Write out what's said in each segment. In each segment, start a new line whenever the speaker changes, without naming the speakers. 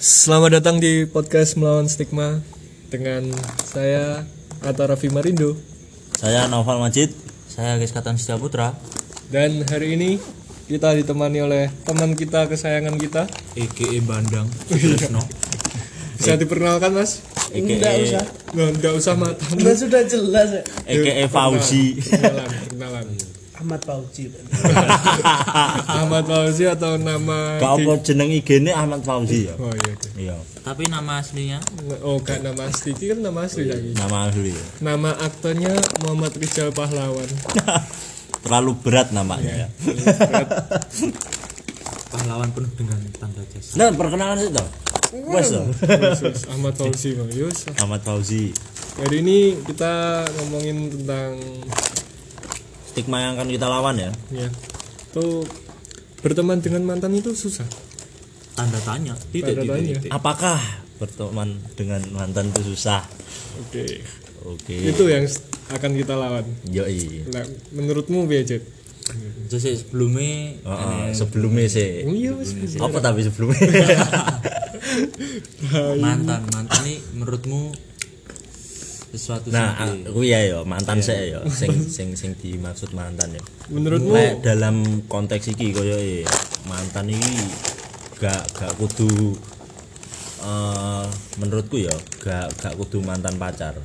Selamat datang di podcast melawan stigma dengan saya Atta Raffi Marindo
Saya Noval Majid. Saya Agis Katan Setia Putra.
dan hari ini kita ditemani oleh teman kita kesayangan kita
E
EKE Bandang.
bisa diperkenalkan mas?
Enggak
EKE
usah.
Nggak, nggak usah mat
Enggak sudah jelas ya.
EKE E Fauzi.
perkenalan, perkenalan.
Ahmad Fauzi.
Ahmad Fauzi atau nama
Gak apa jeneng IG-ne Ahmad Fauzi ya.
Oh iya oke.
Iya.
Tapi nama aslinya
Oh gak nama asli, Ini kan nama asli lagi
Nama asli. ya.
Nama aktornya Muhammad Rizal Pahlawan
Terlalu berat namanya ya.
pahlawan penuh dengan tanda jasa.
Nah, perkenalan sih toh.
Iya.
Wes toh.
Yesus, Ahmad Fauzi Bang. Yus.
Ahmad Fauzi.
Hari ini kita ngomongin tentang
Stigma yang akan kita lawan ya.
ya tuh berteman dengan mantan itu susah
Tanda tanya. Tidak,
Tanda
tidak,
tanya.
tidak.
Apakah berteman dengan mantan itu susah?
oke
Oke.
itu yang s- akan kita lawan
Yoi.
Lah, menurutmu biar
Jadi sebelumnya
Oh, oh, sebelumnya sih.
Oh iya Mas.
Apa tapi sebelumnya?
mantan mantan ini menurutmu sesuatu
Nah,
sing-
aku ya yo mantan saya yo sing sing sing dimaksud mantan ya.
menurutmu
Lek dalam konteks iki koyo e, mantan iki gak gak kudu eh menurutku ya gak gak kudu mantan pacar.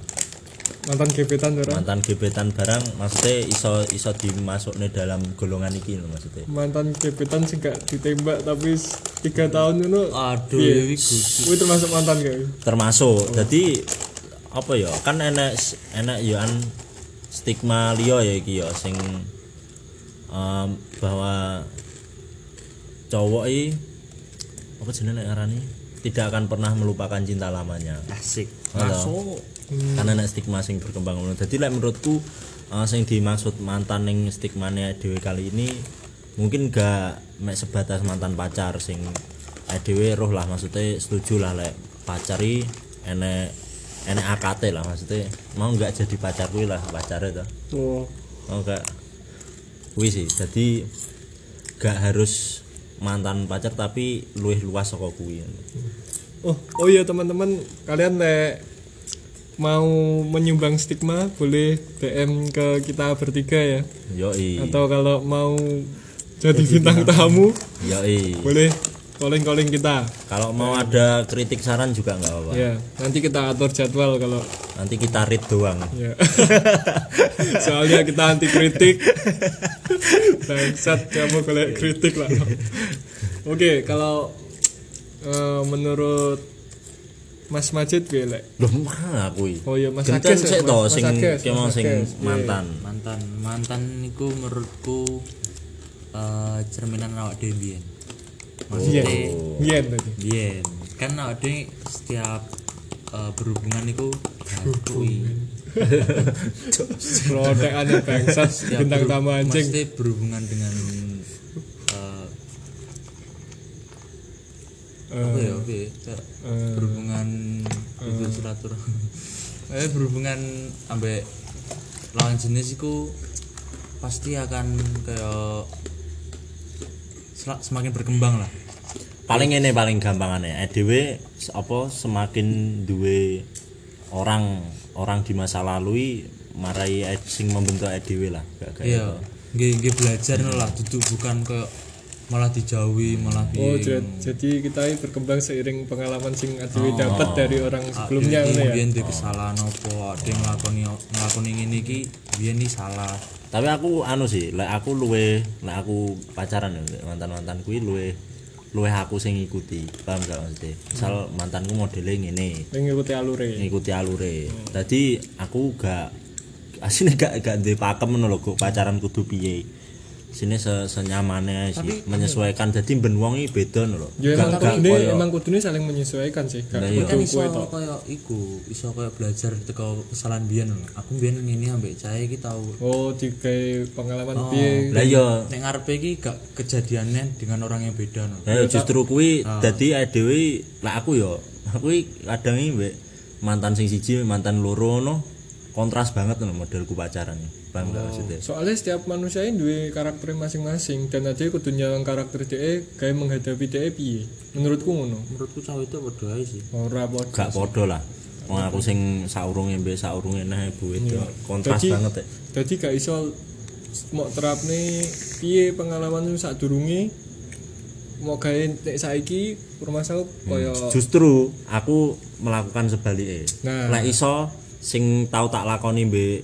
mantan gebetan orang
Mantan gebetan barang maksudnya iso iso dimasukne dalam golongan iki lho maksudnya.
mantan gebetan sih gak ditembak tapi s- tiga tahun itu
Aduh,
Iya.
ya iku.
Wih termasuk mantan gak?
Termasuk jadi apa ya kan enak enak yo an stigma liya ya iki yo sing em, bahwa cowok i apa jenenge nek ngarani tidak akan pernah melupakan cinta lamanya.
asik.
Masuk. Karena nek stigma sing berkembang ngono. Dadi lek menurutku eh, sing dimaksud mantan ning stigmane dhewe kali ini mungkin gak mek sebatas mantan pacar sing eh, dhewe roh lah maksudnya setuju lah lek pacari enek enek AKT lah maksudnya mau nggak jadi pacar kuwi lah pacare to.
Oh,
Oh enggak. Kuwi sih. Jadi gak harus mantan pacar tapi luwih luas saka kuwi.
oh, oh iya teman-teman kalian lek mau menyumbang stigma boleh DM ke kita bertiga ya.
Yoi.
Atau kalau mau jadi bintang tamu
Yoi.
boleh calling-calling kita.
Kalau mau ada kritik saran juga nggak apa-apa.
Ya, nanti kita atur jadwal kalau
Nanti kita read doang.
ya. Soalnya kita anti kritik. Bangsat, kamu boleh kritik lah. Oke, kalau eh, menurut Mas Majid pilih.
Loh mana kui?
Oh iya, Mas
Genten
Akes ya, Mas-
sik to
Mas
sing
Akes,
ki mau
Mas
sing
Akes, iya.
mantan.
Mantan mantan niku menurutku eh, cerminan awak dhewe biyen.
Iya.
Maksudnya
Iya tadi.
biyen kan awak dhewe setiap eh, berhubungan niku akui.
Protekannya bangsat
Ya,
bintang
berhub-
tamu anjing.
maksudnya berhubungan dengan eh,
Eh,
apa ya apa ya Kayak berhubungan itu suratur eh berhubungan ambek lawan jenis itu pasti akan kayak sel- semakin berkembang lah
Paling ini paling gampangane dhewe apa semakin duwe orang orang di masa lalu i, marai e- sing membentuk dhewe lah gak kayak
iya nggih nggih belajar lah duduk bukan kayak malah dijauhi malah
Oh, jadi,
piye.
jadi kita ini berkembang seiring pengalaman sing
Oh.
adewe dapat dari orang
Ah,
sebelumnya
iya,
Ada
ngono
yang
ya.
biyen duwe kesalahan apa ada yang nglakoni nglakoni ngene iki biyen iki salah
tapi aku anu sih lek aku luwe lek aku pacaran mantan mantan kui luwe luwe aku sing ngikuti paham gak maksudnya misal
Hmm.
mantanku modelnya ngene
Ini ngikuti alure.
ngikuti
Hmm.
alure. Tadi aku gak asine gak gak duwe pakem ngono lho kok pacaran kudu piye. Sini se senyamane sih menyesuaikan. Jadi ben wong iki beda ngono lho.
Ya emang
Gak gak
kudune
koyo
emang kudune saling menyesuaikan sih. Gak
Nah,
kudu
iya.
kan iso
kowe to.
kaya iku iso kaya belajar teko kesalahan biyen lho. aku biyen ngene ambek cah iki tau
Oh, dikai pengalaman
Oh.
piye?
Lah iya.
nek ngarepe iki gak kejadiannya dengan orang yang beda no.
Lah iya, justru kuwi
Ah.
dadi awake dhewe lak aku yo. Aku iki kadang iki mbek mantan sing siji, mantan loro ngono. kontras banget loh modelku pacaran paham gak maksudnya
soalnya setiap manusia ini duwe karakter masing-masing dan aja kudu nyalang karakter dia kayak menghadapi dia piye menurutku ngono
menurutku cowok itu padha ae sih
ora podo
gak podo lah Wong aku sing saurunge mbek saurunge nah ibu itu kontras
Jadi- oh.
banget ya.
jadi gak iso mau terapne piye pengalaman lu saat durungi mau kayak nek saiki permasalahan
Hmm.
koyo
Justru aku melakukan sebaliknya.
Nah.
Nah. iso sing tau tak lakoni mbek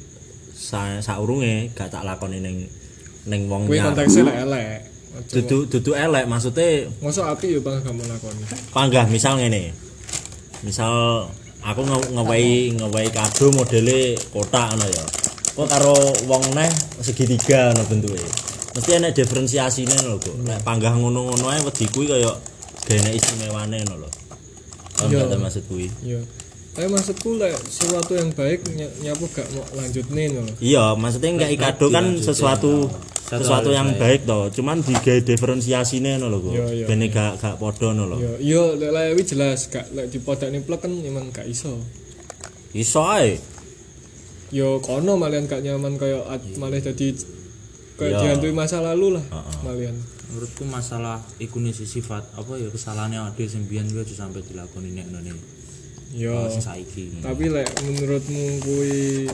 sa saurunge gak tak lakoni ning ning wong
kuwi
nyar.
konteksnya lek elek Ojo-
Dudu dudu elek maksudnya
Mosok api yo bang gak mau lakoni.
panggah misal ngene. Misal aku nge- ngewehi ngewehi kado modele kotak ngono ya. Kok karo wong neh segitiga ngono bentuke. Mesti ana diferensiasine ngono lho, Kok.
Hmm.
Nek panggah ngono-ngono ae wedi kuwi kaya dene istimewane ngono lho. Paham
Iya.
gak ta maksud kuwi?
Iya. Tapi maksudku lek sesuatu yang baik ny- nyapu gak mau lanjut nih loh.
Iya, maksudnya enggak kado kan
dilanjutin,
sesuatu
Satu
sesuatu
hal yang
yang baik toh. Cuman digawe diferensiasine ngono lho, Kok.
Iya, iya,
Bene gak gak padha ngono lho.
Yo, yo lek lewi jelas gak lek dipodakne plek kan emang gak iso.
Iso ae.
Yo kono malian gak nyaman kaya at, malah jadi kayak
Iya.
dihantui masa lalu lah malian.
menurutku masalah iku nih si sifat apa ya kesalahannya ade sing biyen kuwi aja sampe dilakoni nek ngene
Yo.
Oh, sing saiki
Tapi lek menurutmu kuwi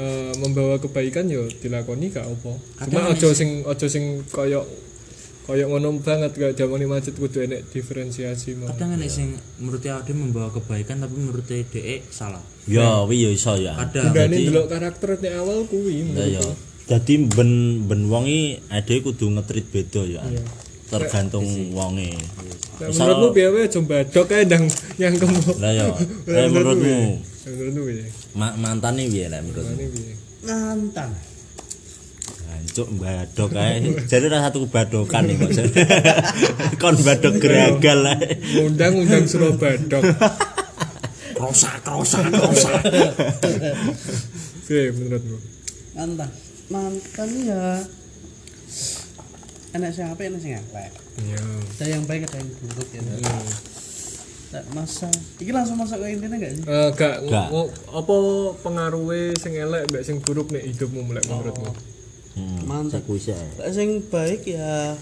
eh, membawa kebaikan yo dilakoni gak apa. Cuma
Kadang
ojo sing ojo sing koyo koyo ngono banget kayak jamane masjid kudu enek diferensiasi mau.
kadang enek sing menurut ade membawa kebaikan tapi menurut dhek salah
Ya, wi yo iso ya.
kadang
Bundane delok karakter nek awal kuwi
Ya.
menurutku.
Dadi ben ben wongi ade kudu ngetrit beda ya. Tergantung wonge.
Nah, menurutmu piye wae aja badok ae ndang nyangkem.
Lah ya, eh, menurutmu
Menurutmu piye?
ma mantane piye lah menurutmu?
Ini piye?
Nantang.
Hancuk badok ae. Jadi ra satu badokan nih kok. Kon badok geragal lah.
Undang-undang suruh badok.
krosak krosak krosak
Piye menurutmu?
Nantang. Mantan ya. Enak sing apik, enak sing elek.
Ya.
Iya.
Ada yang baik, ada yang buruk ya. Tak masa. Iki langsung masuk ke intinya enggak sih?
Eh gak
Gak.
ngo- apa pengaruhe sing elek mbek sing buruk nek hidupmu mulai
Oh.
menurutmu?
Mantap.
Hmm, Kuwi
Lek sing baik ya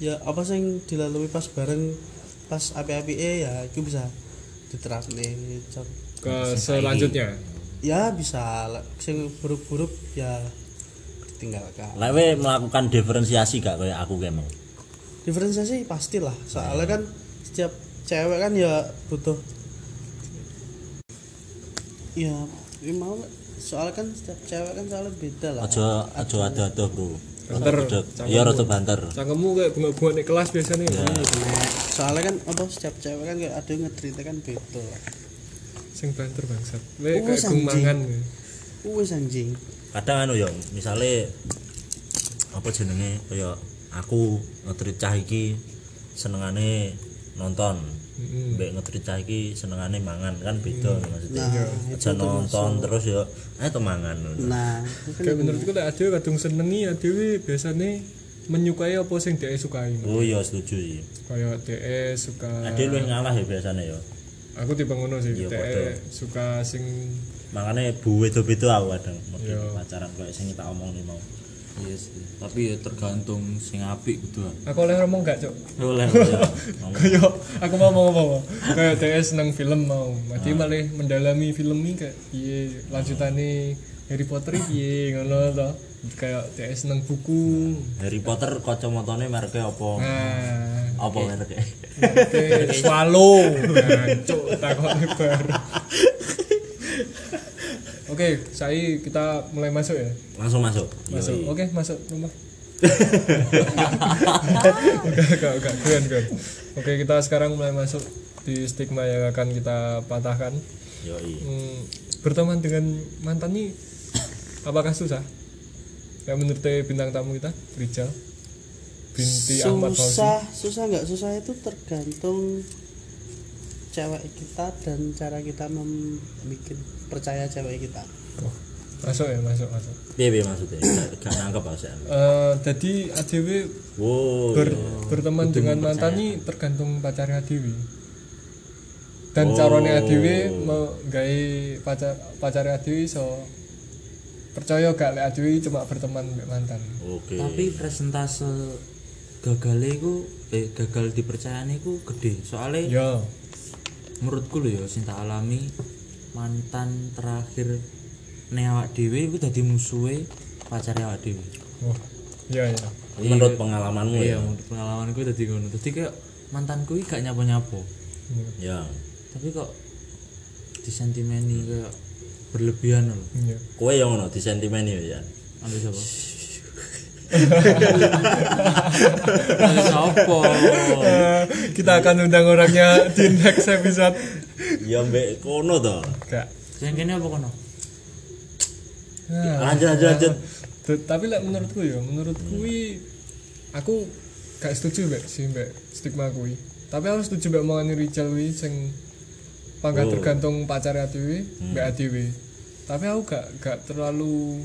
ya apa sing dilalui pas bareng pas api-api ya itu bisa diterapne Cok.
Ke selanjutnya.
ya bisa Lek sing buruk-buruk ya ditinggalkan
Lek we melakukan diferensiasi gak kayak aku kayak mau.
diferensiasi pastilah soalnya kan setiap cewek kan ya butuh ya ya mau Lek. soalnya kan setiap cewek kan soalnya beda lah
Aja aja ada-ada, Bro.
Banter.
Ya rada banter.
Cangkemmu kayak bunga-bunga nek kelas biasanya. ya?
Ya.
Nek, soalnya kan apa setiap cewek kan kayak ada yang ngetrita kan beda lah
Sing banter bangsat. Lek
Oh,
kayak
sanji.
gumangan.
wes anjing
kadang anu ya misalnya apa jenenge kaya aku ngetrit cah iki senengane nonton
Hmm.
mbek ngetrit cah iki senengane mangan kan beda maksudnya aja nonton terus ya eh to mangan
nah itu kan
Kayak menurutku lek adewe kadung senengi adewe biasane menyukai apa sing dia sukai.
oh iya setuju sih
Kayak dia E suka
ade lu ngalah ya biasanya ya
aku tipe ngono sih
Iya,
TE
padha.
suka sing
makanya bu itu itu aku kadang model
Iya.
pacaran kayak sing tak omong nih mau
iya sih tapi ya tergantung sing apik kudu
aku oleh ngomong gak cok
oleh
kaya aku mau ngomong apa kaya TE seneng film mau
Ah.
mati malah mendalami film ini kayak piye lanjutane Harry Potter piye ngono to kayak TE seneng buku
Harry Potter kacamatane merke apa
nah
apa merke
TE swallow nah cok takokne bar Oke, saya kita mulai masuk ya.
langsung masuk
Masuk.
Yoi.
Oke, masuk rumah. Enggak, enggak, enggak. Keren, keren. Oke, kita sekarang mulai masuk di stigma yang akan kita patahkan.
yoi
Hmm, berteman dengan mantan nih apakah susah? Ya menurut bintang tamu kita, Rijal binti Ahmad Fauzi.
susah susah nggak susah itu tergantung cewek kita dan cara kita membuat percaya cewek kita
Oh, masuk ya, masuk, masuk.
Piye piye maksudnya? Gak- Gak nangkep aku sih.
Eh, jadi ADW
Wow.
ber- berteman dengan mantan nih tergantung pacarnya Dewi dan caranya Dewi menggai pacar pacarnya Dewi so percaya gak lek adewe cuma berteman mbek mantan
Oke.
tapi presentase gagalnya iku eh gagal dipercayane iku gede soalnya
yo
menurutku lho ya sing tak alami mantan terakhir ne awak dhewe iku dadi musuhe pacare awak dhewe
oh iya iya
Menurut pengalamanmu ya.
iya menurut pengalamanku dadi ngono dadi kayak mantanku iki gak nyapo-nyapo
Ya.
tapi kok disentimeni kayak berlebihan lho
iya
Kowe yang ngono disentimen ya.
ambil siapa ambil siapa
kita akan undang orangnya di next episode
Ya mbek kono to.
gak
Yang kene apa kono?
Nah,
Lanjut lanjut lanjut.
Tuh, tapi lah menurutku ya menurutku i- aku gak setuju mbak sih mbak stigma kui tapi aku setuju mbak mau Rijal kui sing panggah
Oh.
tergantung pacar ATW mbak ATW tapi aku gak gak terlalu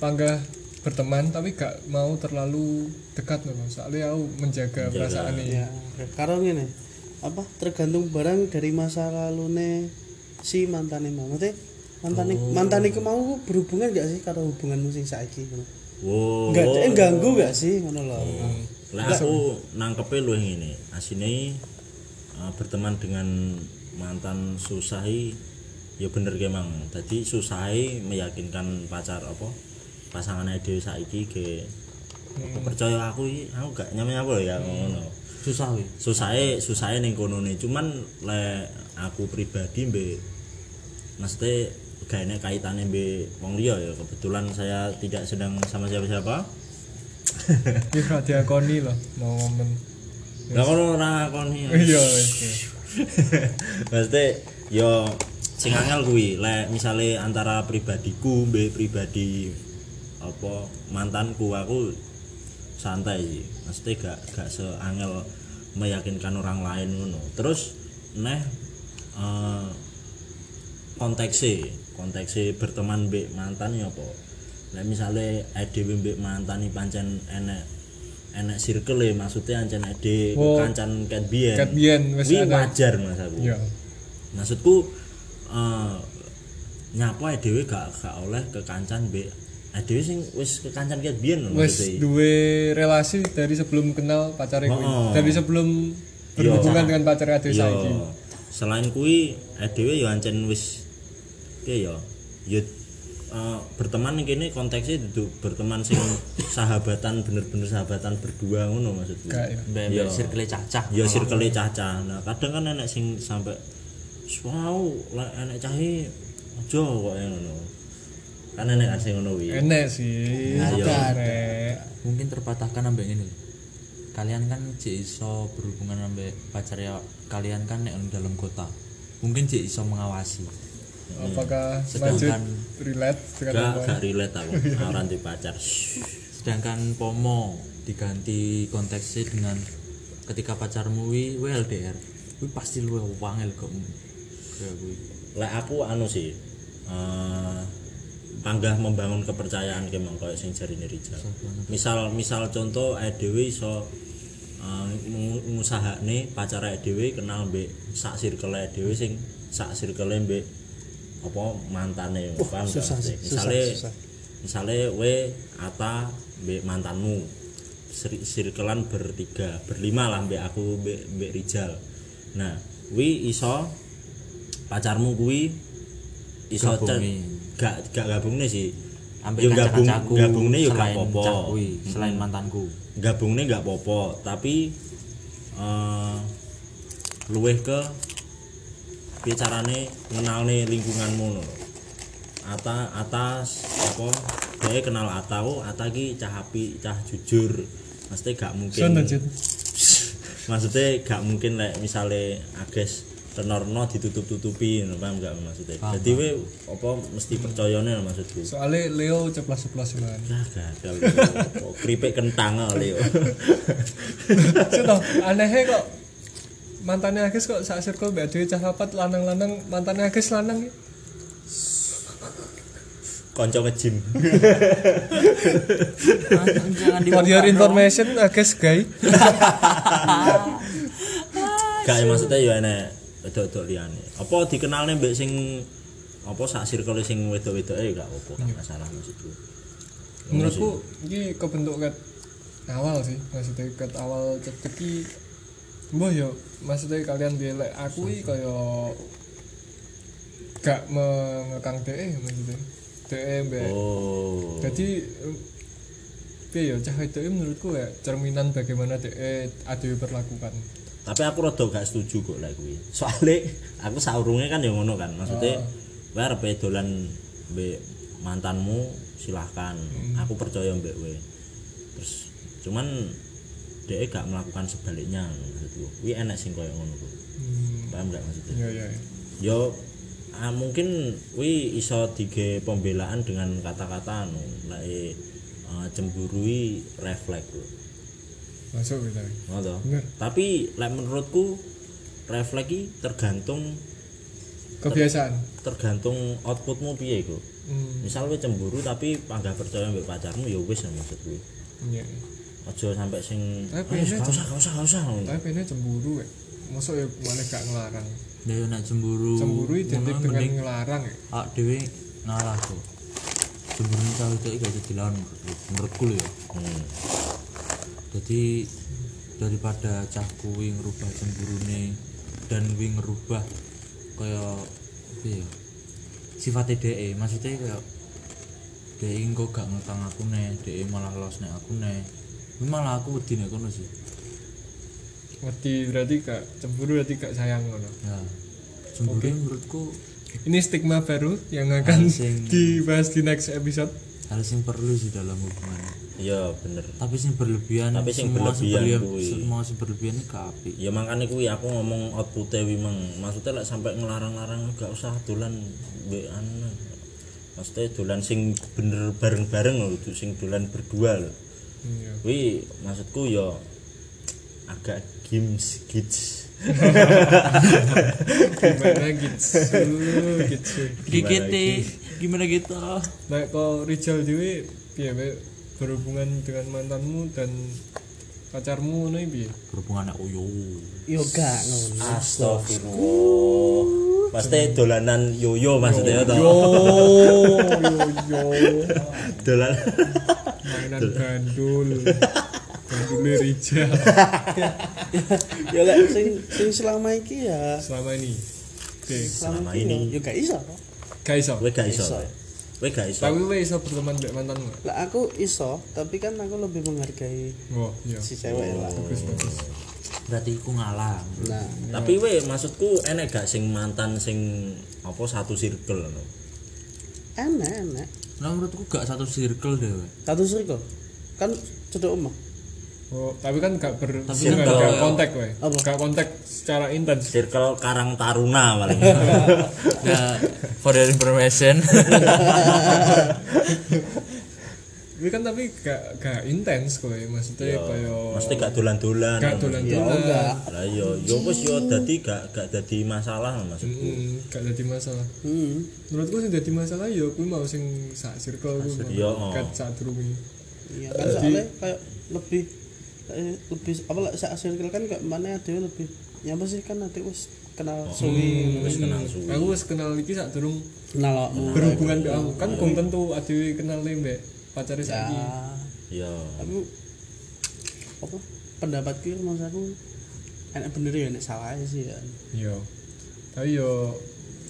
panggah berteman tapi gak mau terlalu dekat loh Mas. soalnya aku menjaga perasaan ini
ya karo ngene apa tergantung barang dari masa lalune si mantane mau maksudnya mantane mantane ku mau ku berhubungan gak sih karo hubunganmu sing saiki ngono
Wow.
enggak eh, ganggu gak sih ngono lho
Lah aku nangkepe lu yang ini. Asine uh, berteman dengan mantan susahi ya bener ke mang. Tadi susahi meyakinkan pacar apa pasangannya dhewe saiki ke percaya aku iki aku gak nyaman apa ya ngono.
Susah weh.
Susahe susahe ning kono nih. Cuman le aku pribadi mbek mesti gaene kaitane mbek wong liya ya kebetulan saya tidak sedang sama siapa-siapa.
ini gak diakoni loh mau ngomong
Lah kono ora ngakoni.
iya wes, ya.
Maksudnya yo sing angel kuwi lek misale antara pribadiku mbek pribadi apa mantanku aku santai sih. Maksudnya gak gak seangel meyakinkan orang lain ngono. Terus neh eh konteksnya konteksnya berteman mbek mantan ya apa Lah misale EDW mbek mantan iki pancen enek enek circle ya maksudnya ancen ede
Oh.
kancan ket biyen
Ket biyen, wis
Kuwi
ada.
wajar mas aku
iya
maksudku eh nyapa dhewe gak gak oleh kekancan mbek dhewe sing wis kekancan ket biyen
wes
lho maksudnya iya.
duwe relasi dari sebelum kenal pacar kui
Oh.
dari sebelum
Iya.
berhubungan dengan pacar adik
Yo,
saiki
selain kuwi eh, dhewe yo ancen wis piye yo yo eh, berteman kene konteksnya duduk berteman sing sahabatan bener-bener sahabatan berdua ngono maksudku
gak ya
Iya.
Mbak-mbak circle cacah.
ya circle cacah nah kadang kan enek sing sampe wow lek enek cahe aja kok ngono kan enek kan sing ngono kuwi
enek sih
Ayo.
sebenarnya.
Mungkin terpatahkan ambek ngene lho. Kalian kan jek iso berhubungan ambek pacar ya kalian kan nek dalam kota. Mungkin jek iso mengawasi.
apakah lanjut
Sedangkan-
relate dengan
gak
apa?
gak relate aku ora di pacar
Sedangkan pomo diganti konteksnya dengan ketika pacarmu wi wi LDR. Wi pasti luwe wangel kok. Kayak gue.
lek aku anu sih eh panggah membangun kepercayaan ke mong koyo sing jarine Rijal misal misal contoh dhewe iso eh, ngu- ngusahakne pacar dhewe kenal mbek sak circle dhewe sing sak circle mbek apa mantane paham gak
Uh, susah
maksudnya?
sih, susah,
misale
susah.
misale we ata mbek mantanmu Seri- sirkelan bertiga berlima lah mbek aku mbek mbek Rijal nah wi iso pacarmu kuwi iso cen-
Gabungi.
gak gak gabungne sih
Ambek kanca-kancaku.
gabungne yo gak
selain cah
apa-apa Hmm.
kuwi, selain mantanku.
gabungne gak apa-apa tapi eh luweh ke piye carane ngenalne lingkunganmu no ata atas apa dhewe kenal ata oh ata ki cah api cah jujur mesti gak mungkin
Sun lanjut
maksudnya gak mungkin lek misale ages tenorno ditutup-tutupi ngono, paham gak maksudnya jadi we apa mesti percayane lho maksudku
soalnya Leo ceplas-ceplas man
nah gagal Kok keripik kentang lho Leo
sudah anehnya kok mantannya Agis kok saat circle mbak Dewi cah papat lanang-lanang mantannya Agis lanang ya.
kanca ngejim
Jangan
for your information Agis gay
gak ya, maksudnya ya enek wedok-wedok liyane apa dikenalne mbek sing apa sak circle sing wedok-wedoke ya gak apa gak masalah maksudku.
menurutku ini kebentuk ket awal sih maksudnya ket awal cekcok ki mbah yo maksudnya kalian dilek aku iki kaya gak mengekang DE maksudnya DE mbek
Oh.
jadi piye yo cah itu menurutku ya cerminan bagaimana E DE ada diperlakukan
tapi aku rada gak setuju kok lek kuwi soalnya aku saurunge kan ya ngono kan maksudnya kowe arep dolan mbek mantanmu silahkan aku percaya mbek kowe terus cuman dia gak melakukan sebaliknya maksudku kuwi enak sing koyo ngono kok paham gak maksudnya
ya ya ya.
yo ah, mungkin wi iso dige pembelaan dengan kata-kata anu lek eh, cemburu wi refleks lho.
masuk gitu. kita
Ngono to.
Bener.
Tapi lek menurutku refleks iki tergantung
kebiasaan
tergantung outputmu piye iku.
hmm.
Misal kowe cemburu tapi panggah percaya mbek pacarmu ya wis lah maksud kowe.
ya.
Aja sampai sing
Tapi
"Ah, wis,
ini
gak usah gak usah gak usah.
tapi ini cemburu ya masuk ya malah gak ngelarang
Ya yo nek cemburu.
cemburu identik
ngono
dengan
mending
ngelarang ya
awak dhewe ngalah kok. Cemburu cah itu gak jadi lawan menurutku. menurutku lho ya.
Hmm.
Jadi daripada cah kuwi ngerubah cemburune dan kuwi ngerubah kaya piye ya? Sifate dhek, maksudnya kaya dhek engko gak ngekang aku ne, dhek malah los nek aku ne. Kuwi malah aku wedi nek kono sih.
ngerti berarti gak cemburu berarti gak sayang ngono
Ya. Cemburu menurutku
ini stigma baru yang akan
Asing.
dibahas di next episode
hal sing perlu sih dalam hubungan.
Ya bener.
Tapi sing berlebihan
Tapi sing
semua
berlebihan
berlebihan
kuwi.
semua sing berlebihan ini gak apik.
Ya makanya kuwi aku ngomong outputnya wi mang. Maksudnya lek sampai ngelarang-larang gak usah dolan mbek anu. Maksudnya dolan sing bener bareng-bareng lho, du- sing dolan berdua lho.
Iya.
Kuwi maksudku ya agak gims gids.
gimana gitu gitu
Gimana gimana gitu?
nah kalau Rizal Dewi piye Be? berhubungan dengan mantanmu dan pacarmu ini piye
Berhubungan aku yo.
yo gak ngono
Astagfirullah. Pasti dolanan yoyo maksudnya
oh
to.
iya. yo yo
Dolan.
mainan gandul gandulnya Rizal
ya lek sing sing selama iki ya
selama ini oke
selama ini yo gak iso
gak iso
Kowe gak iso.
Iso.
Kowe gak iso.
tapi we iso berteman dengan mantanmu gak?
lah aku iso tapi kan aku lebih menghargai
oh iya
si cewek lah
bagus bagus
Berarti aku ngalah.
nah
Tapi we maksudku enek gak sing mantan sing apa satu circle ngono.
enak enak
Nah menurutku gak satu circle deh. we.
satu circle kan cedok omah
Oh, tapi kan gak ber
Tapi kan
gak,
kalau-
gak kontak we.
Apa?
Gak kontak secara intens.
Circle Karang Taruna paling.
Nah, for your information.
Tapi kan tapi gak gak intens kowe maksudnya kaya
Mesti gak dolan-dolan.
gak
Eh.
dolan-dolan.
enggak
Lah yo yo wis yo dadi gak gak dadi masalah maksud.
Mm, gak jadi masalah.
hmm
Menurutku sing jadi masalah ya kuwi mau sing sak circle oh. kuwi. mau.
Iya.
Gak sak durunge.
iya kan soalnya kayak lebih eh, lebih apa lah saat circle kan kayak mana ada lebih ya apa sih kan nanti wis kenal suwi
Wis kenal suwi.
Aku wis kenal iki sak durung
kenal awakmu
berhubungan ke aku. Kan gong tentu adewe kenal le mbek pacare saiki.
Ah,
Yo.
tapi apa pendapatku mas aku enak bener ya enak salah sih ya
Iya. Tapi yo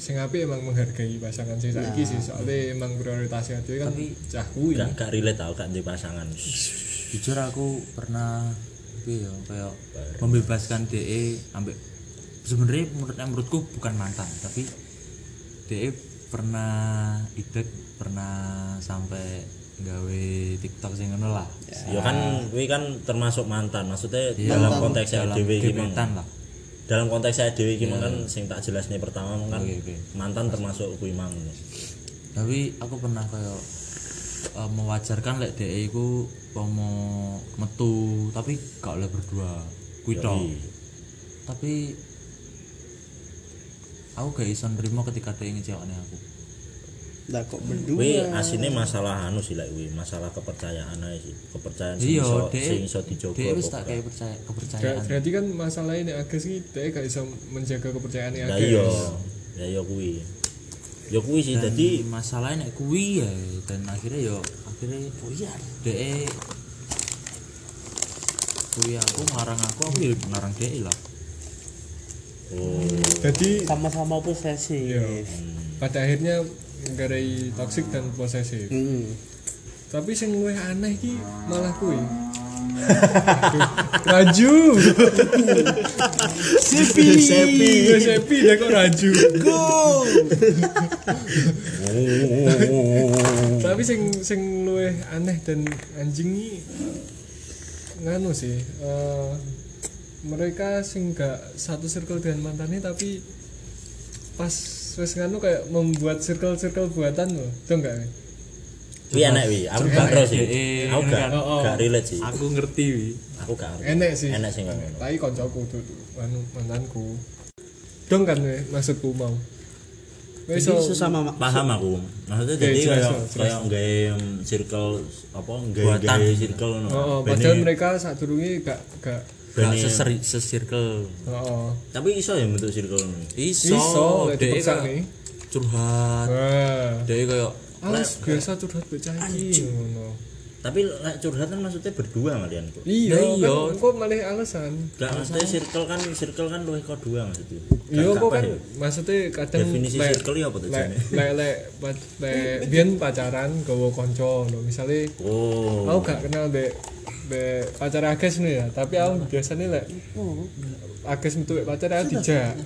sing apik emang menghargai pasangan sing saiki sih soalnya emang prioritasnya adewe kan cah kuwi.
Gak gak relate tau gak di pasangan.
Jujur aku pernah piye ya kayak membebaskan DE ambek sebenarnya menurut menurutku bukan mantan, tapi DE pernah idek pernah sampai gawe TikTok sing ngono lah.
Yo kan kuwi kan termasuk mantan. Maksudnya dalam konteks
Ah. Iya. Dalam
dhewe iki Mang.
gebetan lah.
dalam konteks saya dewi gimana kan sing tak jelas nih pertama kan
Oke, oke.
mantan termasuk kui mang
tapi aku pernah kayak eh, mewajarkan lek dhek iku pomo metu tapi gak oleh berdua kuwi tok.
Yoi.
tapi aku gak iso nrimo ketika dhek ngecewakne aku
nah kok berdua
kui asine masalah anu sih lah kui masalah kepercayaan aja sih kepercayaan sing
iya
iso sing
dhek
iso dijogo
dhek E wis
apa
tak kayak percaya kepercayaan
Ber- Berarti kan masalahnya nek Agus iki dhek gak iso menjaga kepercayaan
ora. lah
Agus.
iya lah iya kui ya kuwi sih
dan
dadi
masalahnya nek kuwi ya dan akhirnya yo akhirnya oh
iya
de kuwi aku ngarang aku aku ya ngarang de lah
jadi
sama-sama posesif
Iya. pada akhirnya menggarai toksik dan posesif
hmm.
tapi sing luwih aneh ki malah kuwi Aduh, Raju Sepi
Sepi.
Gue Sepi deh kok Raju Tapi sing sing luwih aneh dan anjing ini Nganu sih eh, Mereka sing gak satu circle dengan mantannya tapi Pas wes nganu kayak membuat circle-circle buatan loh Itu enggak
kuwi enak kuwi aku gak ero sih
Dek,
aku gak
kan? Oh, oh.
gak relate sih
aku ngerti wi
aku gak ngerti.
Enek sih.
enak sih gak ngono
Tapi koncoku tuh anu mantanku. Dong kan we, maksudku mau. Wes
jadi sesama mak
paham aku maksudnya
Oke,
jadi
jelas,
kayak
jelas.
kayak gawe circle apa
Buatan.
gawe circle no
Oh, oh, padahal mereka saat durunge gak gak
gak
Bene-
seseri sesirkel
Oh, oh.
tapi iso ya bentuk circle ini
iso,
iso
Dek
dipaksa
kayak
nih.
curhat
Wah.
de kayak
Alas biasa curhat bocah iki ngono.
tapi lek curhat kan maksudnya berdua kalian kok
Iya,
Lah iya.
kan kok malah alasan.
gak maksudnya circle kan circle kan luwih kok dua maksudnya
Iya
Gak
kok
apa
kan
ya?
maksudnya kadang
Definisi
lek-
circle ya apa tuh,
lek-
Jan?
Lek lek pac- lek biyen pacaran gawa kanca lho, misale
oh
aku gak kenal be be pacar Agnes nih ya tapi aku biasanya lek
oh
Agnes metu be pacar aku dijak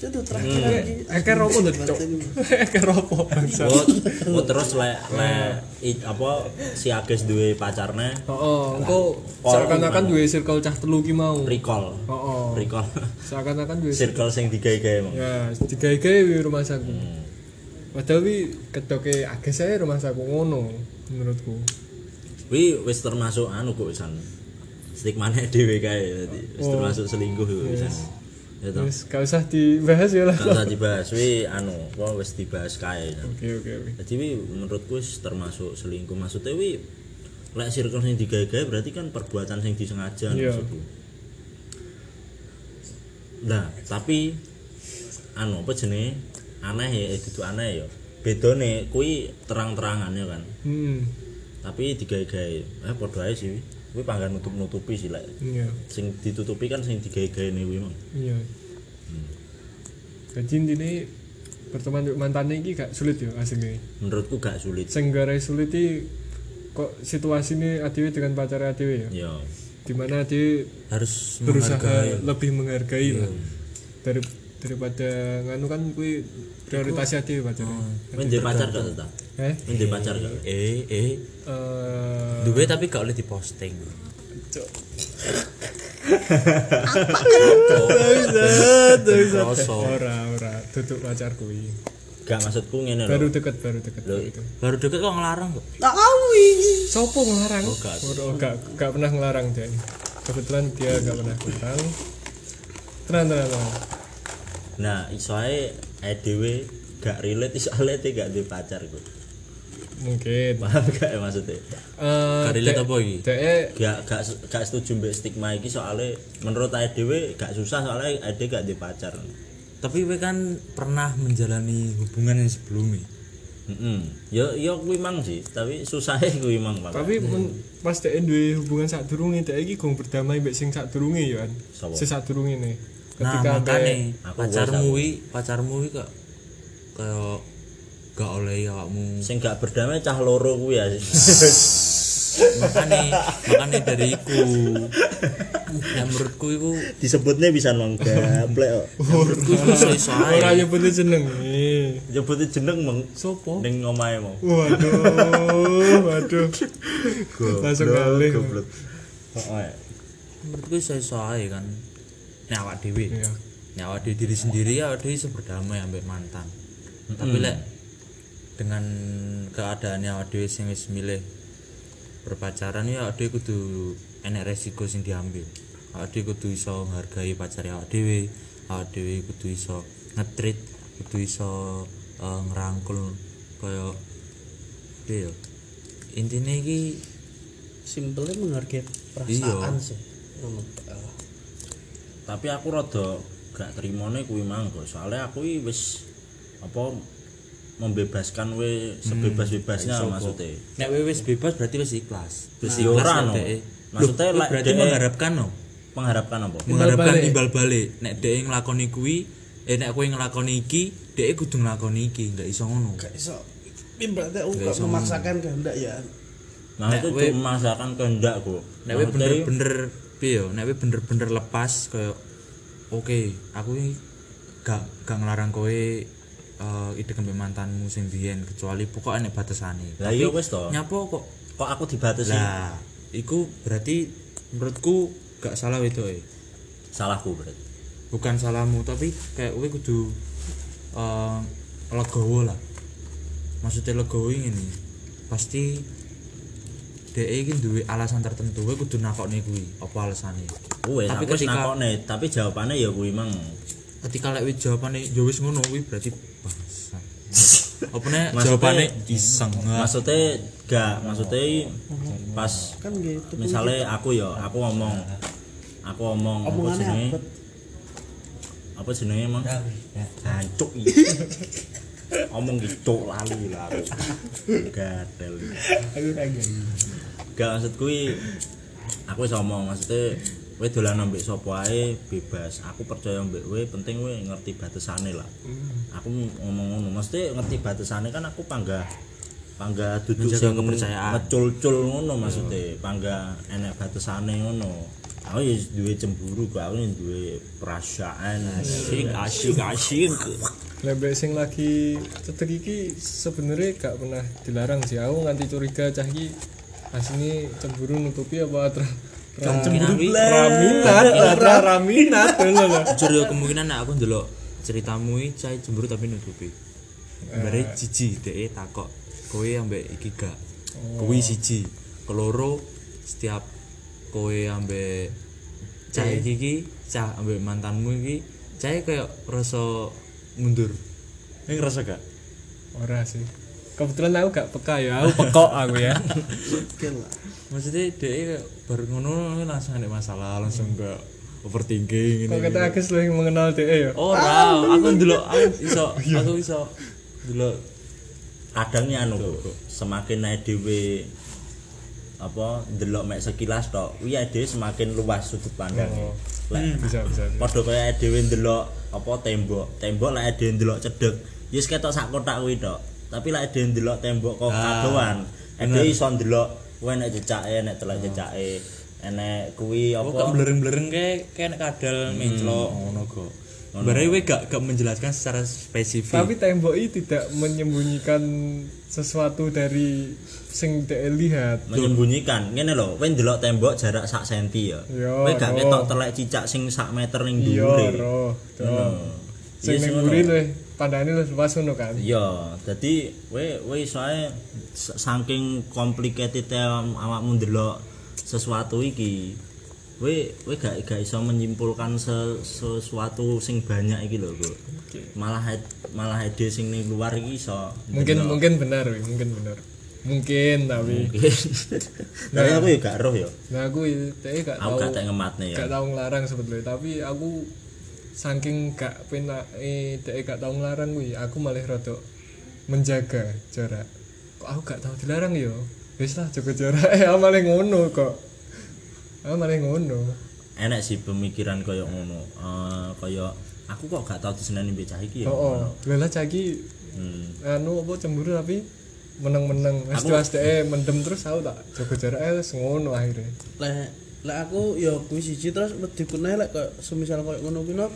itu terakhir
Iya.
lagi
Eke ropo lho cok Eke ropo bangsa
Oh, oh, terus lek lek i- apa si Agis duwe pacarne
Oh, oh engko
Oh,
seakan-akan
gimana?
duwe circle cah telu ki mau
recall
Oh, oh
recall
seakan-akan duwe
circle sing digawe-gawe Hmm. mong
ya digawe-gawe wi rumah saku padahal wi kedoke Agnes ae rumah saku ngono menurutku
Wi wis termasuk anu kok wisan. Stigmane dhewe kae dadi wis
Oh.
termasuk selingkuh kok wisan. Ya toh.
terus gak usah dibahas ya lah
Gak usah dibahas wi anu, wah wis dibahas kae. ya.
oke oke oke
Jadi wi menurutku wis termasuk selingkuh. Maksudnya wi lek circle sing digawe-gawe berarti kan perbuatan sing disengaja
Iya.
maksudku. Nah, tapi anu apa jenenge? Aneh ya, eh, dudu aneh ya. Bedone kuwi terang-terangan ya kan.
hmm
tapi digawe-gawe eh padha ae sih kuwi panggan nutup-nutupi sih lek
iya
sing ditutupi kan sing digawe-gawe kuwi mang
Iya. Jadi intinya berteman dengan mantannya ini gak sulit ya aslinya.
menurutku gak sulit
Sing garai sulit ini kok situasi ini ATW dengan pacarnya ATW ya.
ya
Dimana ATW
harus
berusaha
menghargai
lebih menghargai lah dari daripada nganu kan kui prioritasnya ATW pacarnya.
menjadi pacar gak tetap
Eh,
menjadi pacar gak
eh
eh,
eh duwe tapi gak oleh diposting
cok.
Rasa.
ora ora tutup pacar kui.
gak maksudku ngene lho
Baru deket baru deket. baru deket.
baru deket kok ngelarang kok
tak awi
Sopo ngelarang? Oh,
gak.
gak, gak pernah ngelarang dia. Kebetulan dia gak pernah ngelarang. Tenang, tenang, tenang.
nah iso ae ae dhewe gak relate iso ae te gak duwe pacar kok
Mungkin.
paham gak ya maksudnya
Eh,
Gak relate
dek-
apa iki?
dek- eh,
gak gak se- gak setuju mbek stigma iki soalnya menurut ae dhewe gak susah soalnya ae dhewe gak duwe pacar
tapi we kan pernah menjalani hubungan yang sebelumnya
Heeh. Yo yo kuwi mang sih, tapi susahnya kuwi mang Pak.
tapi men- pas dek duwe hubungan sak durunge dek iki gong berdamai mbek sing sak durunge ya kan.
Sopo?
Sing sak durunge ne.
nah
Ketika dek-
makane
Aku
pacarmu wi pacarmu wi kok kayak gak oleh awakmu
sing gak berdamai cah loro kuwi ya.
makane makane dari iku ya menurutku iku
Disebutnya bisa nang gablek kok.
menurutku iku iso ae
ora nyebut jenenge.
Nyebutnya jeneng meng
Sopo?
ning omahe mau.
Waduh, waduh. Langsung ngalih.
Goblok. Heeh. ya.
menurutku iso iso ae kan nek awak dhewe
Iya.
nek awak dhewe diri sendiri ya awak dhewe iso berdamai ambek mantan tapi lek dengan keadaannya awak dhewe sing wis milih berpacaran ya awak dhewe kudu enek resiko sing diambil awak dhewe kudu iso menghargai pacar awak dhewe awak dhewe kudu iso ngetrit kudu iso eh, ngerangkul kaya piye ya intine iki
simpelnya menghargai perasaan sih Ngono. Eh,
Tapi aku rada gak terimone kuwi mang kok. Soale aku iki wis apa membebaskan we sebebas-bebasnya maksudnya.
Nek we wis bebas berarti wis ikhlas. Wis
Nah, ora, no.
DE.
Maksudnya,
Loh,
lek
berarti
DE
mengharapkan no.
Mengharapkan apa?
Mengharapkan
balik.
imbal balik. Nek DE nglakoni kuwi, eh nek kowe nglakoni iki, DE kudu nglakoni iki, enggak iso ngono.
Gak iso. Ini berarti aku gak memaksakan kehendak ya.
Nah, itu
we-
cuma masakan kehendak kok.
Nek we
Maksudnya,
bener-bener piye yo, nek we bener-bener lepas kayak oke, aku ini gak gak ngelarang kowe eh, ide kembali mantanmu sing biyen kecuali pokoknya nek batasane.
Lah iya wis to.
Nyapa kok
Kok aku dibatasi?
Lah, iku berarti menurutku gak salah itu
Salahku berarti.
Bukan salahmu, tapi kayak kowe kudu eh legowo lah. Maksudnya legowo ini pasti DE iki duwe alasan tertentu, kowe kudu nakokne kuwi, apa alasane.
Wes, tapi
Tapi
aku wis
ketika-
nakokne, tapi jawabannya ya kuwi mang.
Ketika lek wis jawabane ya wis ngono kuwi berarti bangsa. apa nek
Maksudnya-
jawabane iseng.
Maksudnya gak, maksudnya pas
Kan gitu.
misalnya aku ya, aku ngomong aku ngomong apa
Omongannya
jenenge?
abet.
Apa jenenge mang? Hancuk iya. iki. Omong gitu lali lah aku. Gatel.
aku kaget
Gak maksud kuwi aku wis omong maksudnya kowe dolan ambek sapa ae bebas. Aku percaya ambek kowe, penting kowe ngerti batasane lah. Aku ngomong ngono, mesti ngerti batasane kan aku panggah panggah duduk
Menjaga
sing
kepercayaan.
ngecul-cul ngono maksudnya, panggah enek batasane ngono. Aku ya duwe cemburu kok, aku ya duwe perasaan.
Asyik, asyik, asyik.
lebih sing lagi cetek iki sebenarnya gak pernah dilarang sih aku nganti curiga cah iki asini cemburu nutupi apa atra
Kemungkinan kuwi
raminat atra raminat lho lho
jujur ya kemungkinan nek aku ndelok ceritamu iki cai cemburu tapi nutupi.
Eh.
Bare jiji dhek takok kowe ambek iki gak.
Oh.
Kuwi siji. Keloro setiap kowe ambek cah
Eh.
iki iki, cah ambek mantanmu iki, cah koyo rasa mundur.
Ini ngerasa gak?
ora sih kebetulan aku gak peka ya aku pekok aku ya
Oke lah.
Maksudnya dhek kayak bar ngono langsung ada masalah, langsung gak overthinking
kok
ini.
kata Agus lo yang mengenal DE ya
Oh, iya. Ora, aku ndelok aku iso aku iso ndelok
kadangnya anu kok semakin naik dhewe apa delok mek sekilas tok kuwi dhewe semakin luas sudut pandangnya lek
Oh. Hmm, bisa bisa bisa.
padha kaya dhewe ndelok apa tembok tembok lek dhewe ndelok cedhek yes ketok sak kotak kuwi tok tapi lek dhewe ndelok tembok kok
Ah,
kadoan dhewe iso ndelok kuwi nek cecake nek
Ah.
telek cecake enek kuwi
Oh,
aku kok
apa
blereng-blereng kayak kayak nek kadal menclok Hmm, ngono kok. Bare we gak gak menjelaskan secara spesifik.
tapi tembok ini tidak menyembunyikan sesuatu dari sing DE lihat
menyembunyikan ngene lho kowe ndelok tembok jarak sak senti ya
Iya,
kowe gak
no.
ketok telek cicak sing sak meter ning
iya
dhuwure
roh
Ngono.
sing
Iya,
ning
ngono.
mburi lho pandane lho pas ngono kan
Iya, dadi we we soe s- saking complicated e awakmu ndelok sesuatu iki. We we gak gak iso menyimpulkan se- sesuatu sing banyak iki lho, Bro. Malah ed- malah ide sing ning luar iki iso.
mungkin mungkin benar Wi, mungkin benar mungkin tapi
Iya. Tapi aku ya gak roh ya.
nah aku teh gak
Aku
tahu
gak tak ngematne ya.
gak tahu ngelarang sebetulnya tapi aku saking gak pena eh teh gak tahu ngelarang gue aku malah rada menjaga jarak kok aku gak tahu dilarang yo wis lah cukup jarak eh aku malah ngono kok aku malah ngono
Enak sih pemikiran koyo ngono. Eh koyo aku kok gak tau diseneni mbek cah iki ya.
oh oh lelah cagi
Hmm.
anu apa cemburu tapi meneng-meneng wis tuas dhek mendem terus aku tak jaga jarak eh wis ngono akhirnya
Lek lek aku ya kuwi siji terus wedi kuwi lek kok semisal koyo ngono kuwi no,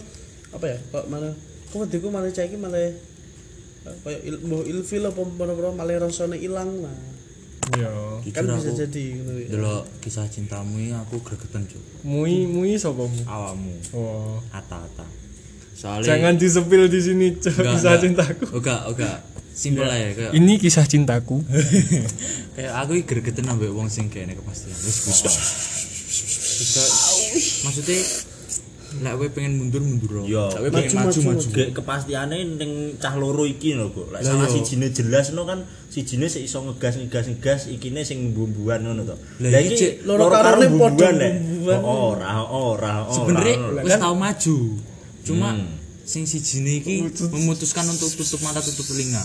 apa ya kok malah kok wedi ku malah cah iki malah eh, koyo il, mbah ilfil apa apa malah rasane ilang lah.
iya
Kan
Jujur
bisa
aku
jadi ngono kuwi.
ndelok kisah cintamu ini aku gregeten cuk.
Mui mui sapa mu?
Ah.
Awakmu,
Oh.
ata-ata. Soalnya Oh,
Jangan disepil di sini Cok.
Enggak,
kisah
enggak.
cintaku.
Oga, oga. Simpel aja kayak
Ini kisah cintaku.
kayak aku iki gregeten ambek wong sing kene kepastian. Wis wis. Bisa- Maksudnya lek kowe pengen mundur mundur.
Yo.
Lek kowe pengen maju maju.
Ge kepastiane ning cah loro iki lho kok. Lek salah sijine jelas no kan sijine sik iso ngegas ngegas ngegas ikine sing bumbuan ngono to.
Lah
Lah
iki
iki
cek,
loro
loro
karo
karone
bumbuan
padha
lek. Oh,
bumbuan.
Ora ora ora.
kan?
sebenarnya
ora.
Hmm.
wis tau maju cuma sing siji niki memutuskan untuk tutup mata tutup telinga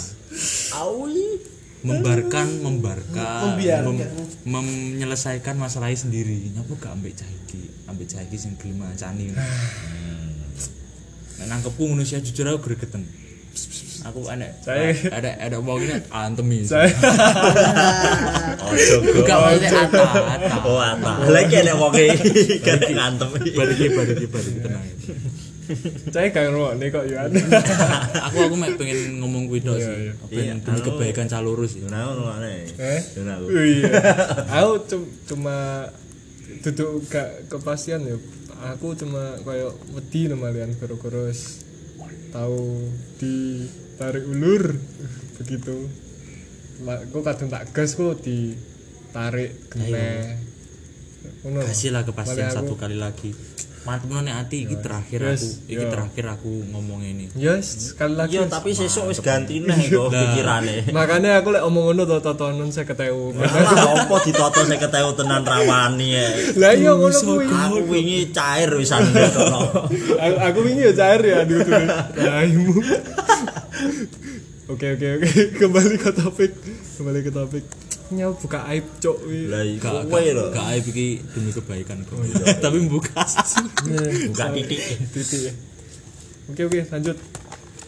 Auli.
membarkan membarkan
Membiarkan.
mem- menyelesaikan masalahnya sendiri nyapa gak ambek cah iki ambek cah iki sing gelem ngancani
Ah.
ngono. nek nangkepku ngono sih jujur aku gregeten aku enek
Saya-
ada ada omongnya antemi
Saya-
Ojo
gak mau ata ata
Oh, apa? Lagi ada wong e, iki kan ngantem.
balik iki, balik iki, balik iki, tenang
saya kayak ruang nih kok Yuan
aku aku mek pengen ngomong kuwi tok sih
Iya, iya.
pengen
Iya,
demi
halo.
kebaikan caloro sih
Yo nang ngono aneh.
eh
Yo nang.
iya aku cum- cuma duduk gak kepastian ya aku cuma kayak wedi namalian gara-gara wis tahu ditarik ulur begitu La- kok kadang tak gas kok ditarik kena ngono lho.
kasihlah
Malah
kepastian
aku-
satu kali lagi mantep nih hati iki terakhir
Yes,
aku iki
yo.
terakhir aku ngomong ini
yes sekali lagi
Yo
Iya,
wis.
tapi sesuk wis ganti neh kok pikirane.
makanya aku lek omong ngono to tontonan saya ketemu
Lah opo ditoto 50 tenan rawani ya.
lah iya ngono kuwi
Aku wingi cair wisan ngono.
aku, aku ingin ya cair ya di utuh raimu oke oke oke kembali ke topik kembali ke topik nyaw buka aib cok wi.
Lah iku
gak
kowe
gak
lho.
gak aib iki demi kebaikan kok tapi membuka iya.
Buka titik.
titik ya oke oke lanjut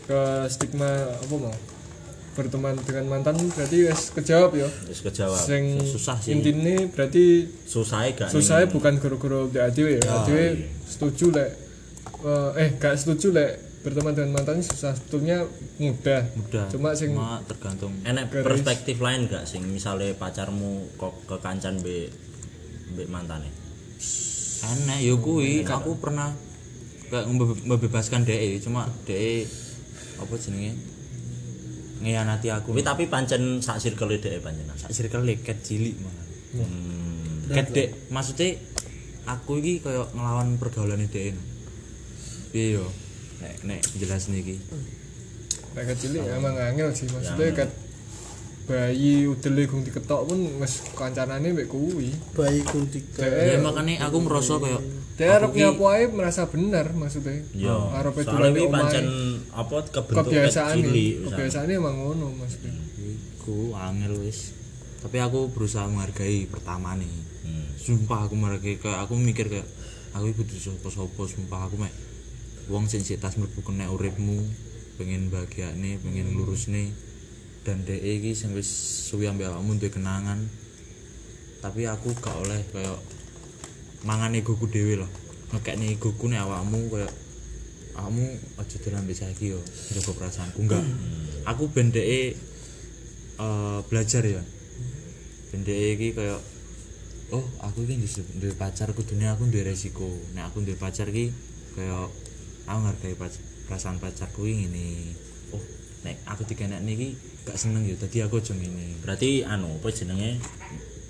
ke stigma apa mau berteman dengan mantan berarti wes kejawab ya
Wis kejawab.
sing
susah sih.
intine berarti
Susahe gak.
susahnya bukan gara-gara dia dewe ya dewe setuju lek eh, eh gak setuju lek berteman dengan mantan susah sebetulnya mudah
mudah
cuma sing
Cuma tergantung
enek perspektif lain gak sing misalnya pacarmu kok ke kancan be be mantane
enek yo kuwi aku pernah gak membe- membebaskan DE cuma DE apa jenenge ngeyanati aku
tapi tapi pancen sak circle dhek panjenan
sak circle e ket cilik malah
Hmm.
ket dek maksudnya aku iki koyo ngelawan pergaulan DE piye yo nek nek jelas niki
Nek kecil ya emang angel sih maksudnya kat bayi udele gung diketok pun wis kancanane mek kuwi.
Bayi kuntika.
ya
Dek
makanya aku ngerasa koyo
dek arep nyapu ae merasa bener maksudnya.
Yo,
Arepe
Ya. soalnya
dolanan
kuwi
omahe.
pancen apa kebentuk ket
kebiasaan
cilik
nih.
misalnya.
Kebiasaan emang ngono maksudnya.
Iku angel wis. Tapi aku berusaha menghargai pertama nih.
Hmm.
Sumpah aku menghargai kayak aku mikir kayak aku iku kudu sapa-sapa sumpah aku mek wong sing sik tas mlebu kena uripmu, pengen bahagiane, pengen lurusne. Dan dhek iki sing wis suwi ambek awakmu duwe kenangan. Tapi aku gak oleh kayak mangan egoku dhewe loh. Ngekekne egoku nek awakmu kayak kamu aja dolan mbek saiki yo njogo perasaanku enggak aku ben dheke eh, belajar ya ben dheke iki kaya oh aku iki ndis- duwe pacar kudune aku duwe resiko nek aku duwe pacar iki kaya aku ngargai pac- perasaan pacarku iki ngene oh nek aku dikenekne iki gak seneng ya dadi aku aja ngene
berarti anu apa jenenge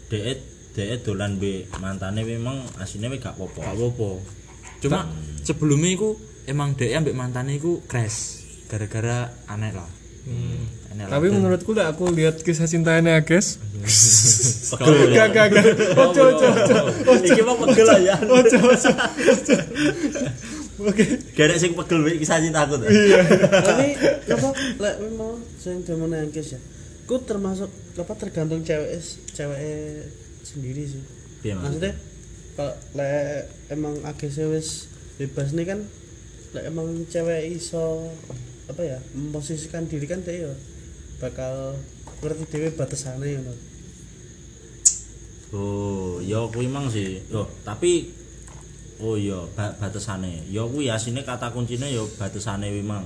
dhek dhek dolan be mantane memang asine wis gak
gak
apa-apa
apa-apa cuma sebelumnya iku emang dheke ambek mantane iku crash gara-gara aneh lah aneh lah
Tapi
Dan-
menurutku lek aku lihat kisah cintanya Agnes,
Pegel ya.
gak gak gak. Ojo ojo ojo.
iki mah pegel lah ya
Ojo ojo. ojo. Oke.
gak ada sing pegel be kisah cintaku tuh
Tapi apa lek memang sing demen angkis ya. Ku termasuk apa tergantung cewek cewek sendiri sih.
Piye maksudnya?
Maksudnya kalau lek emang agis wis bebas nih kan lek emang cewek iso apa ya memposisikan diri kan dia ya bakal ngerti dewe batasannya ya no.
Oh, ya kuwi mang sih. Loh, tapi oh iya ba batasane. Ya kuwi asine kata kuncine ya batasane kuwi mang.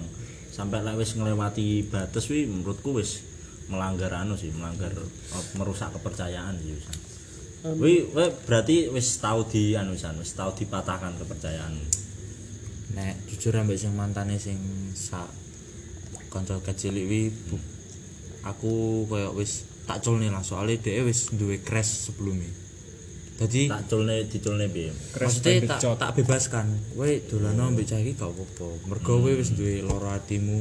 Sampai lek wis nglewati batas kuwi menurutku wis melanggar anu sih, melanggar eh, merusak kepercayaan sih wisan. Kuwi kuwi berarti wis tau di anu wisan, wis tau dipatahkan kepercayaan.
nek jujur ambek sing mantane sing sak kanca kecil iki bu- aku koyo wis tak culne lah soalnya dhek e wis duwe crash sebelumnya dadi
Tak culne diculne piye?
Crash
maksudnya tak,
Bandicoot.
tak bebaskan kowe dolano ambek cah iki gak apa-apa mergo kowe wis duwe lara atimu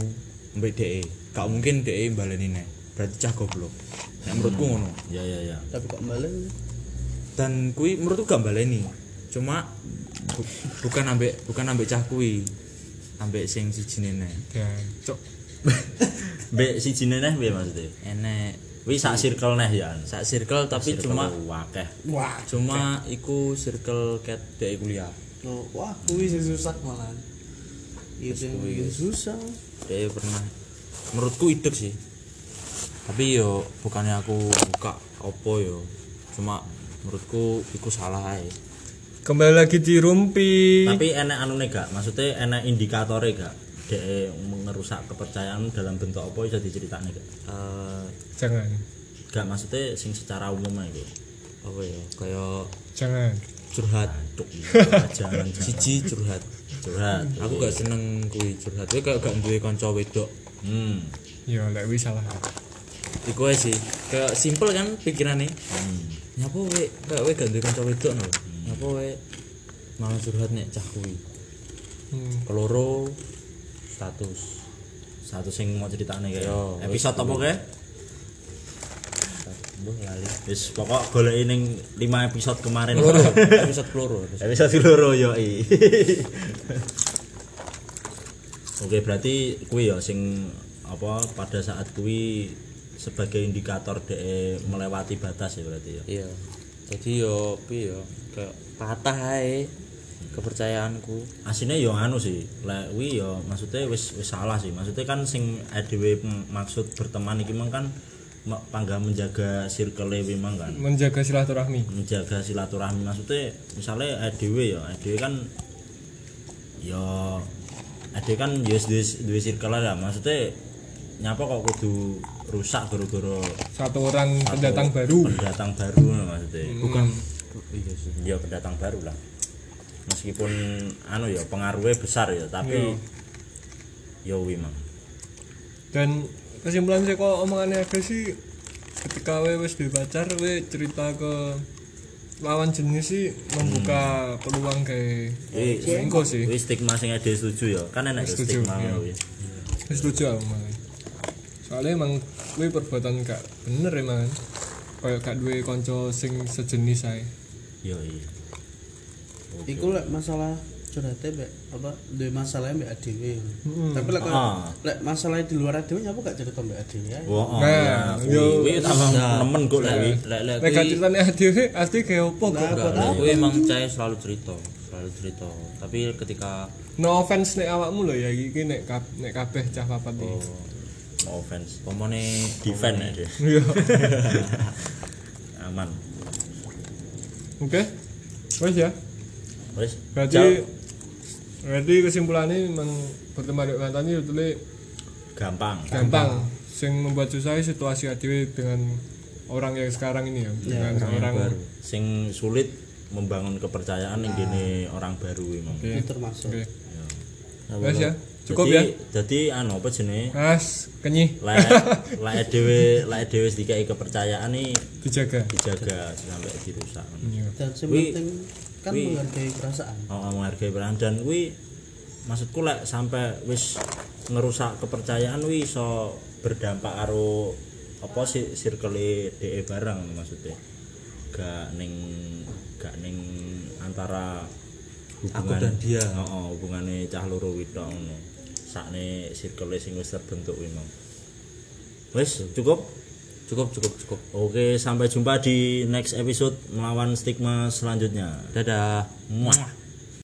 ambek dhek e. gak mungkin dhek baleni nek berarti cah goblok nek menurutku ngono
Ya ya ya.
tapi kok malah
dan kui menurutku gak baleni cuma bu- bukan ambek bukan ambek cah kui ambek sing sijine neh.
dan cok
Mbek siji neh piye maksudnya?
Enek
Wis sak circle neh ya.
sak circle tapi cuma
wakeh.
wah
cuma iku circle ket dek kuliah.
no, wah kuwi sing susah malah itu yang bikin susah
Dek pernah menurutku idek sih. Tapi yo bukannya aku buka opo yo. Cuma menurutku iku salah ae.
kembali lagi di rumpi
Tapi enek anune gak? Maksudnya enek indikatore gak? Dek ngerusak kepercayaan dalam bentuk apa bisa diceritakne gak?
Eh
jangan
Gak maksudnya sing secara umum ae gitu.
apa ya kayak
jangan
curhat
Aduh, jangan jangan
siji curhat
curhat.
aku gak seneng kuwi curhat kuwi kayak gak duwe kanca wedok
Hmm.
ya lek wis salah
iku ae sih kayak simpel kan pikirannya
hmm.
nyapa we kayak we gak duwe kanca wedok no nyapa we malah curhat nek cah kuwi
hmm.
keloro status
Satu sing mau ceritane kayak
Yo,
episode apa kayak?
Mbah lali
Wis pokok goleki ning 5 episode kemarin.
keloro episode keloro episode.
episode loro yo i. Oke, berarti kuwi ya sing apa pada saat kuwi sebagai indikator de melewati batas ya berarti ya.
iya jadi yo pi yo kayak patah ae kepercayaanku
asine yo anu sih lek kuwi yo maksudnya wis wis salah sih maksudnya kan sing dhewe maksud berteman iki mang kan me- pangga menjaga circle memang kan
menjaga silaturahmi
menjaga silaturahmi maksudnya misalnya ADW ya ADW kan ya ADW kan ya duwe duwe circle lah maksudnya nyapa kok kudu rusak gara-gara
satu orang pendatang baru Hmm.
pendatang baru lah maksudnya
bukan iya sih
ya pendatang baru lah meskipun anu ya pengaruhnya besar ya tapi
Iya.
ya wi mang
dan kesimpulan sih kok omongannya agak sih ketika we wis duwe pacar we cerita ke lawan jenis sih membuka peluang kayak
Wih,
selingkuh sih
wih stigma sing ADW setuju ya kan enak
Iya.
ya
Setuju,
stigma
iya.
ya, wi.
setuju aku man soalnya emang gue perbuatan gak bener emang kayak gak duwe konco sing sejenis saya
ya iya
iku lek masalah curhatnya mbak apa duwe masalah mbak adewe tapi lek kaya-
Ah.
lek masalahnya di luar adewe nyapa gak cerita mbak adewe ya
Wah,
Nah,
nah,
yo.
kuwi tambah nemen kok lek kuwi.
Iya. lek lek
Nek gak
kuwi-
ceritanya ADW, asli kayak opo kok
Nah,
Enggak, gue emang cai selalu cerita, selalu cerita. Tapi ketika
no offense nek awakmu lho ya iki nek kab nek kabeh cah papat iki
No offense.
pomone
Defend ya dia.
iya
Aman.
oke wes ya
Wis.
berarti berarti kesimpulannya memang berteman dengan mantan itu tuh
gampang.
gampang sing membuat susah situasi ADW dengan orang yang sekarang ini ya dengan orang
baru.
Sing sulit membangun kepercayaan yang gini
Ah.
orang baru emang.
Oke.
itu termasuk
Oke.
Nah,
Wes ya. Cukup
Jadi-
ya.
Jadi anu apa jenenge?
Mas, kenyih
Lek lek dhewe lek dhewe dikai kepercayaan nih
dijaga.
dijaga sampai dirusak.
Iya.
dan yang
Wi-
penting kan
wi-
menghargai perasaan
Oh, menghargai peran dan kuwi maksudku lek sampai wis ngerusak kepercayaan kuwi iso berdampak karo apa sih circle DE bareng maksudnya gak ning gak ning antara hubungan
Aku dan dia.
oh, oh, hubungane cah loro kuwi tok ngono sakne circle sing wis terbentuk kuwi mau wis cukup
cukup cukup cukup.
oke sampai jumpa di next episode melawan stigma selanjutnya
Dadah.
Muah.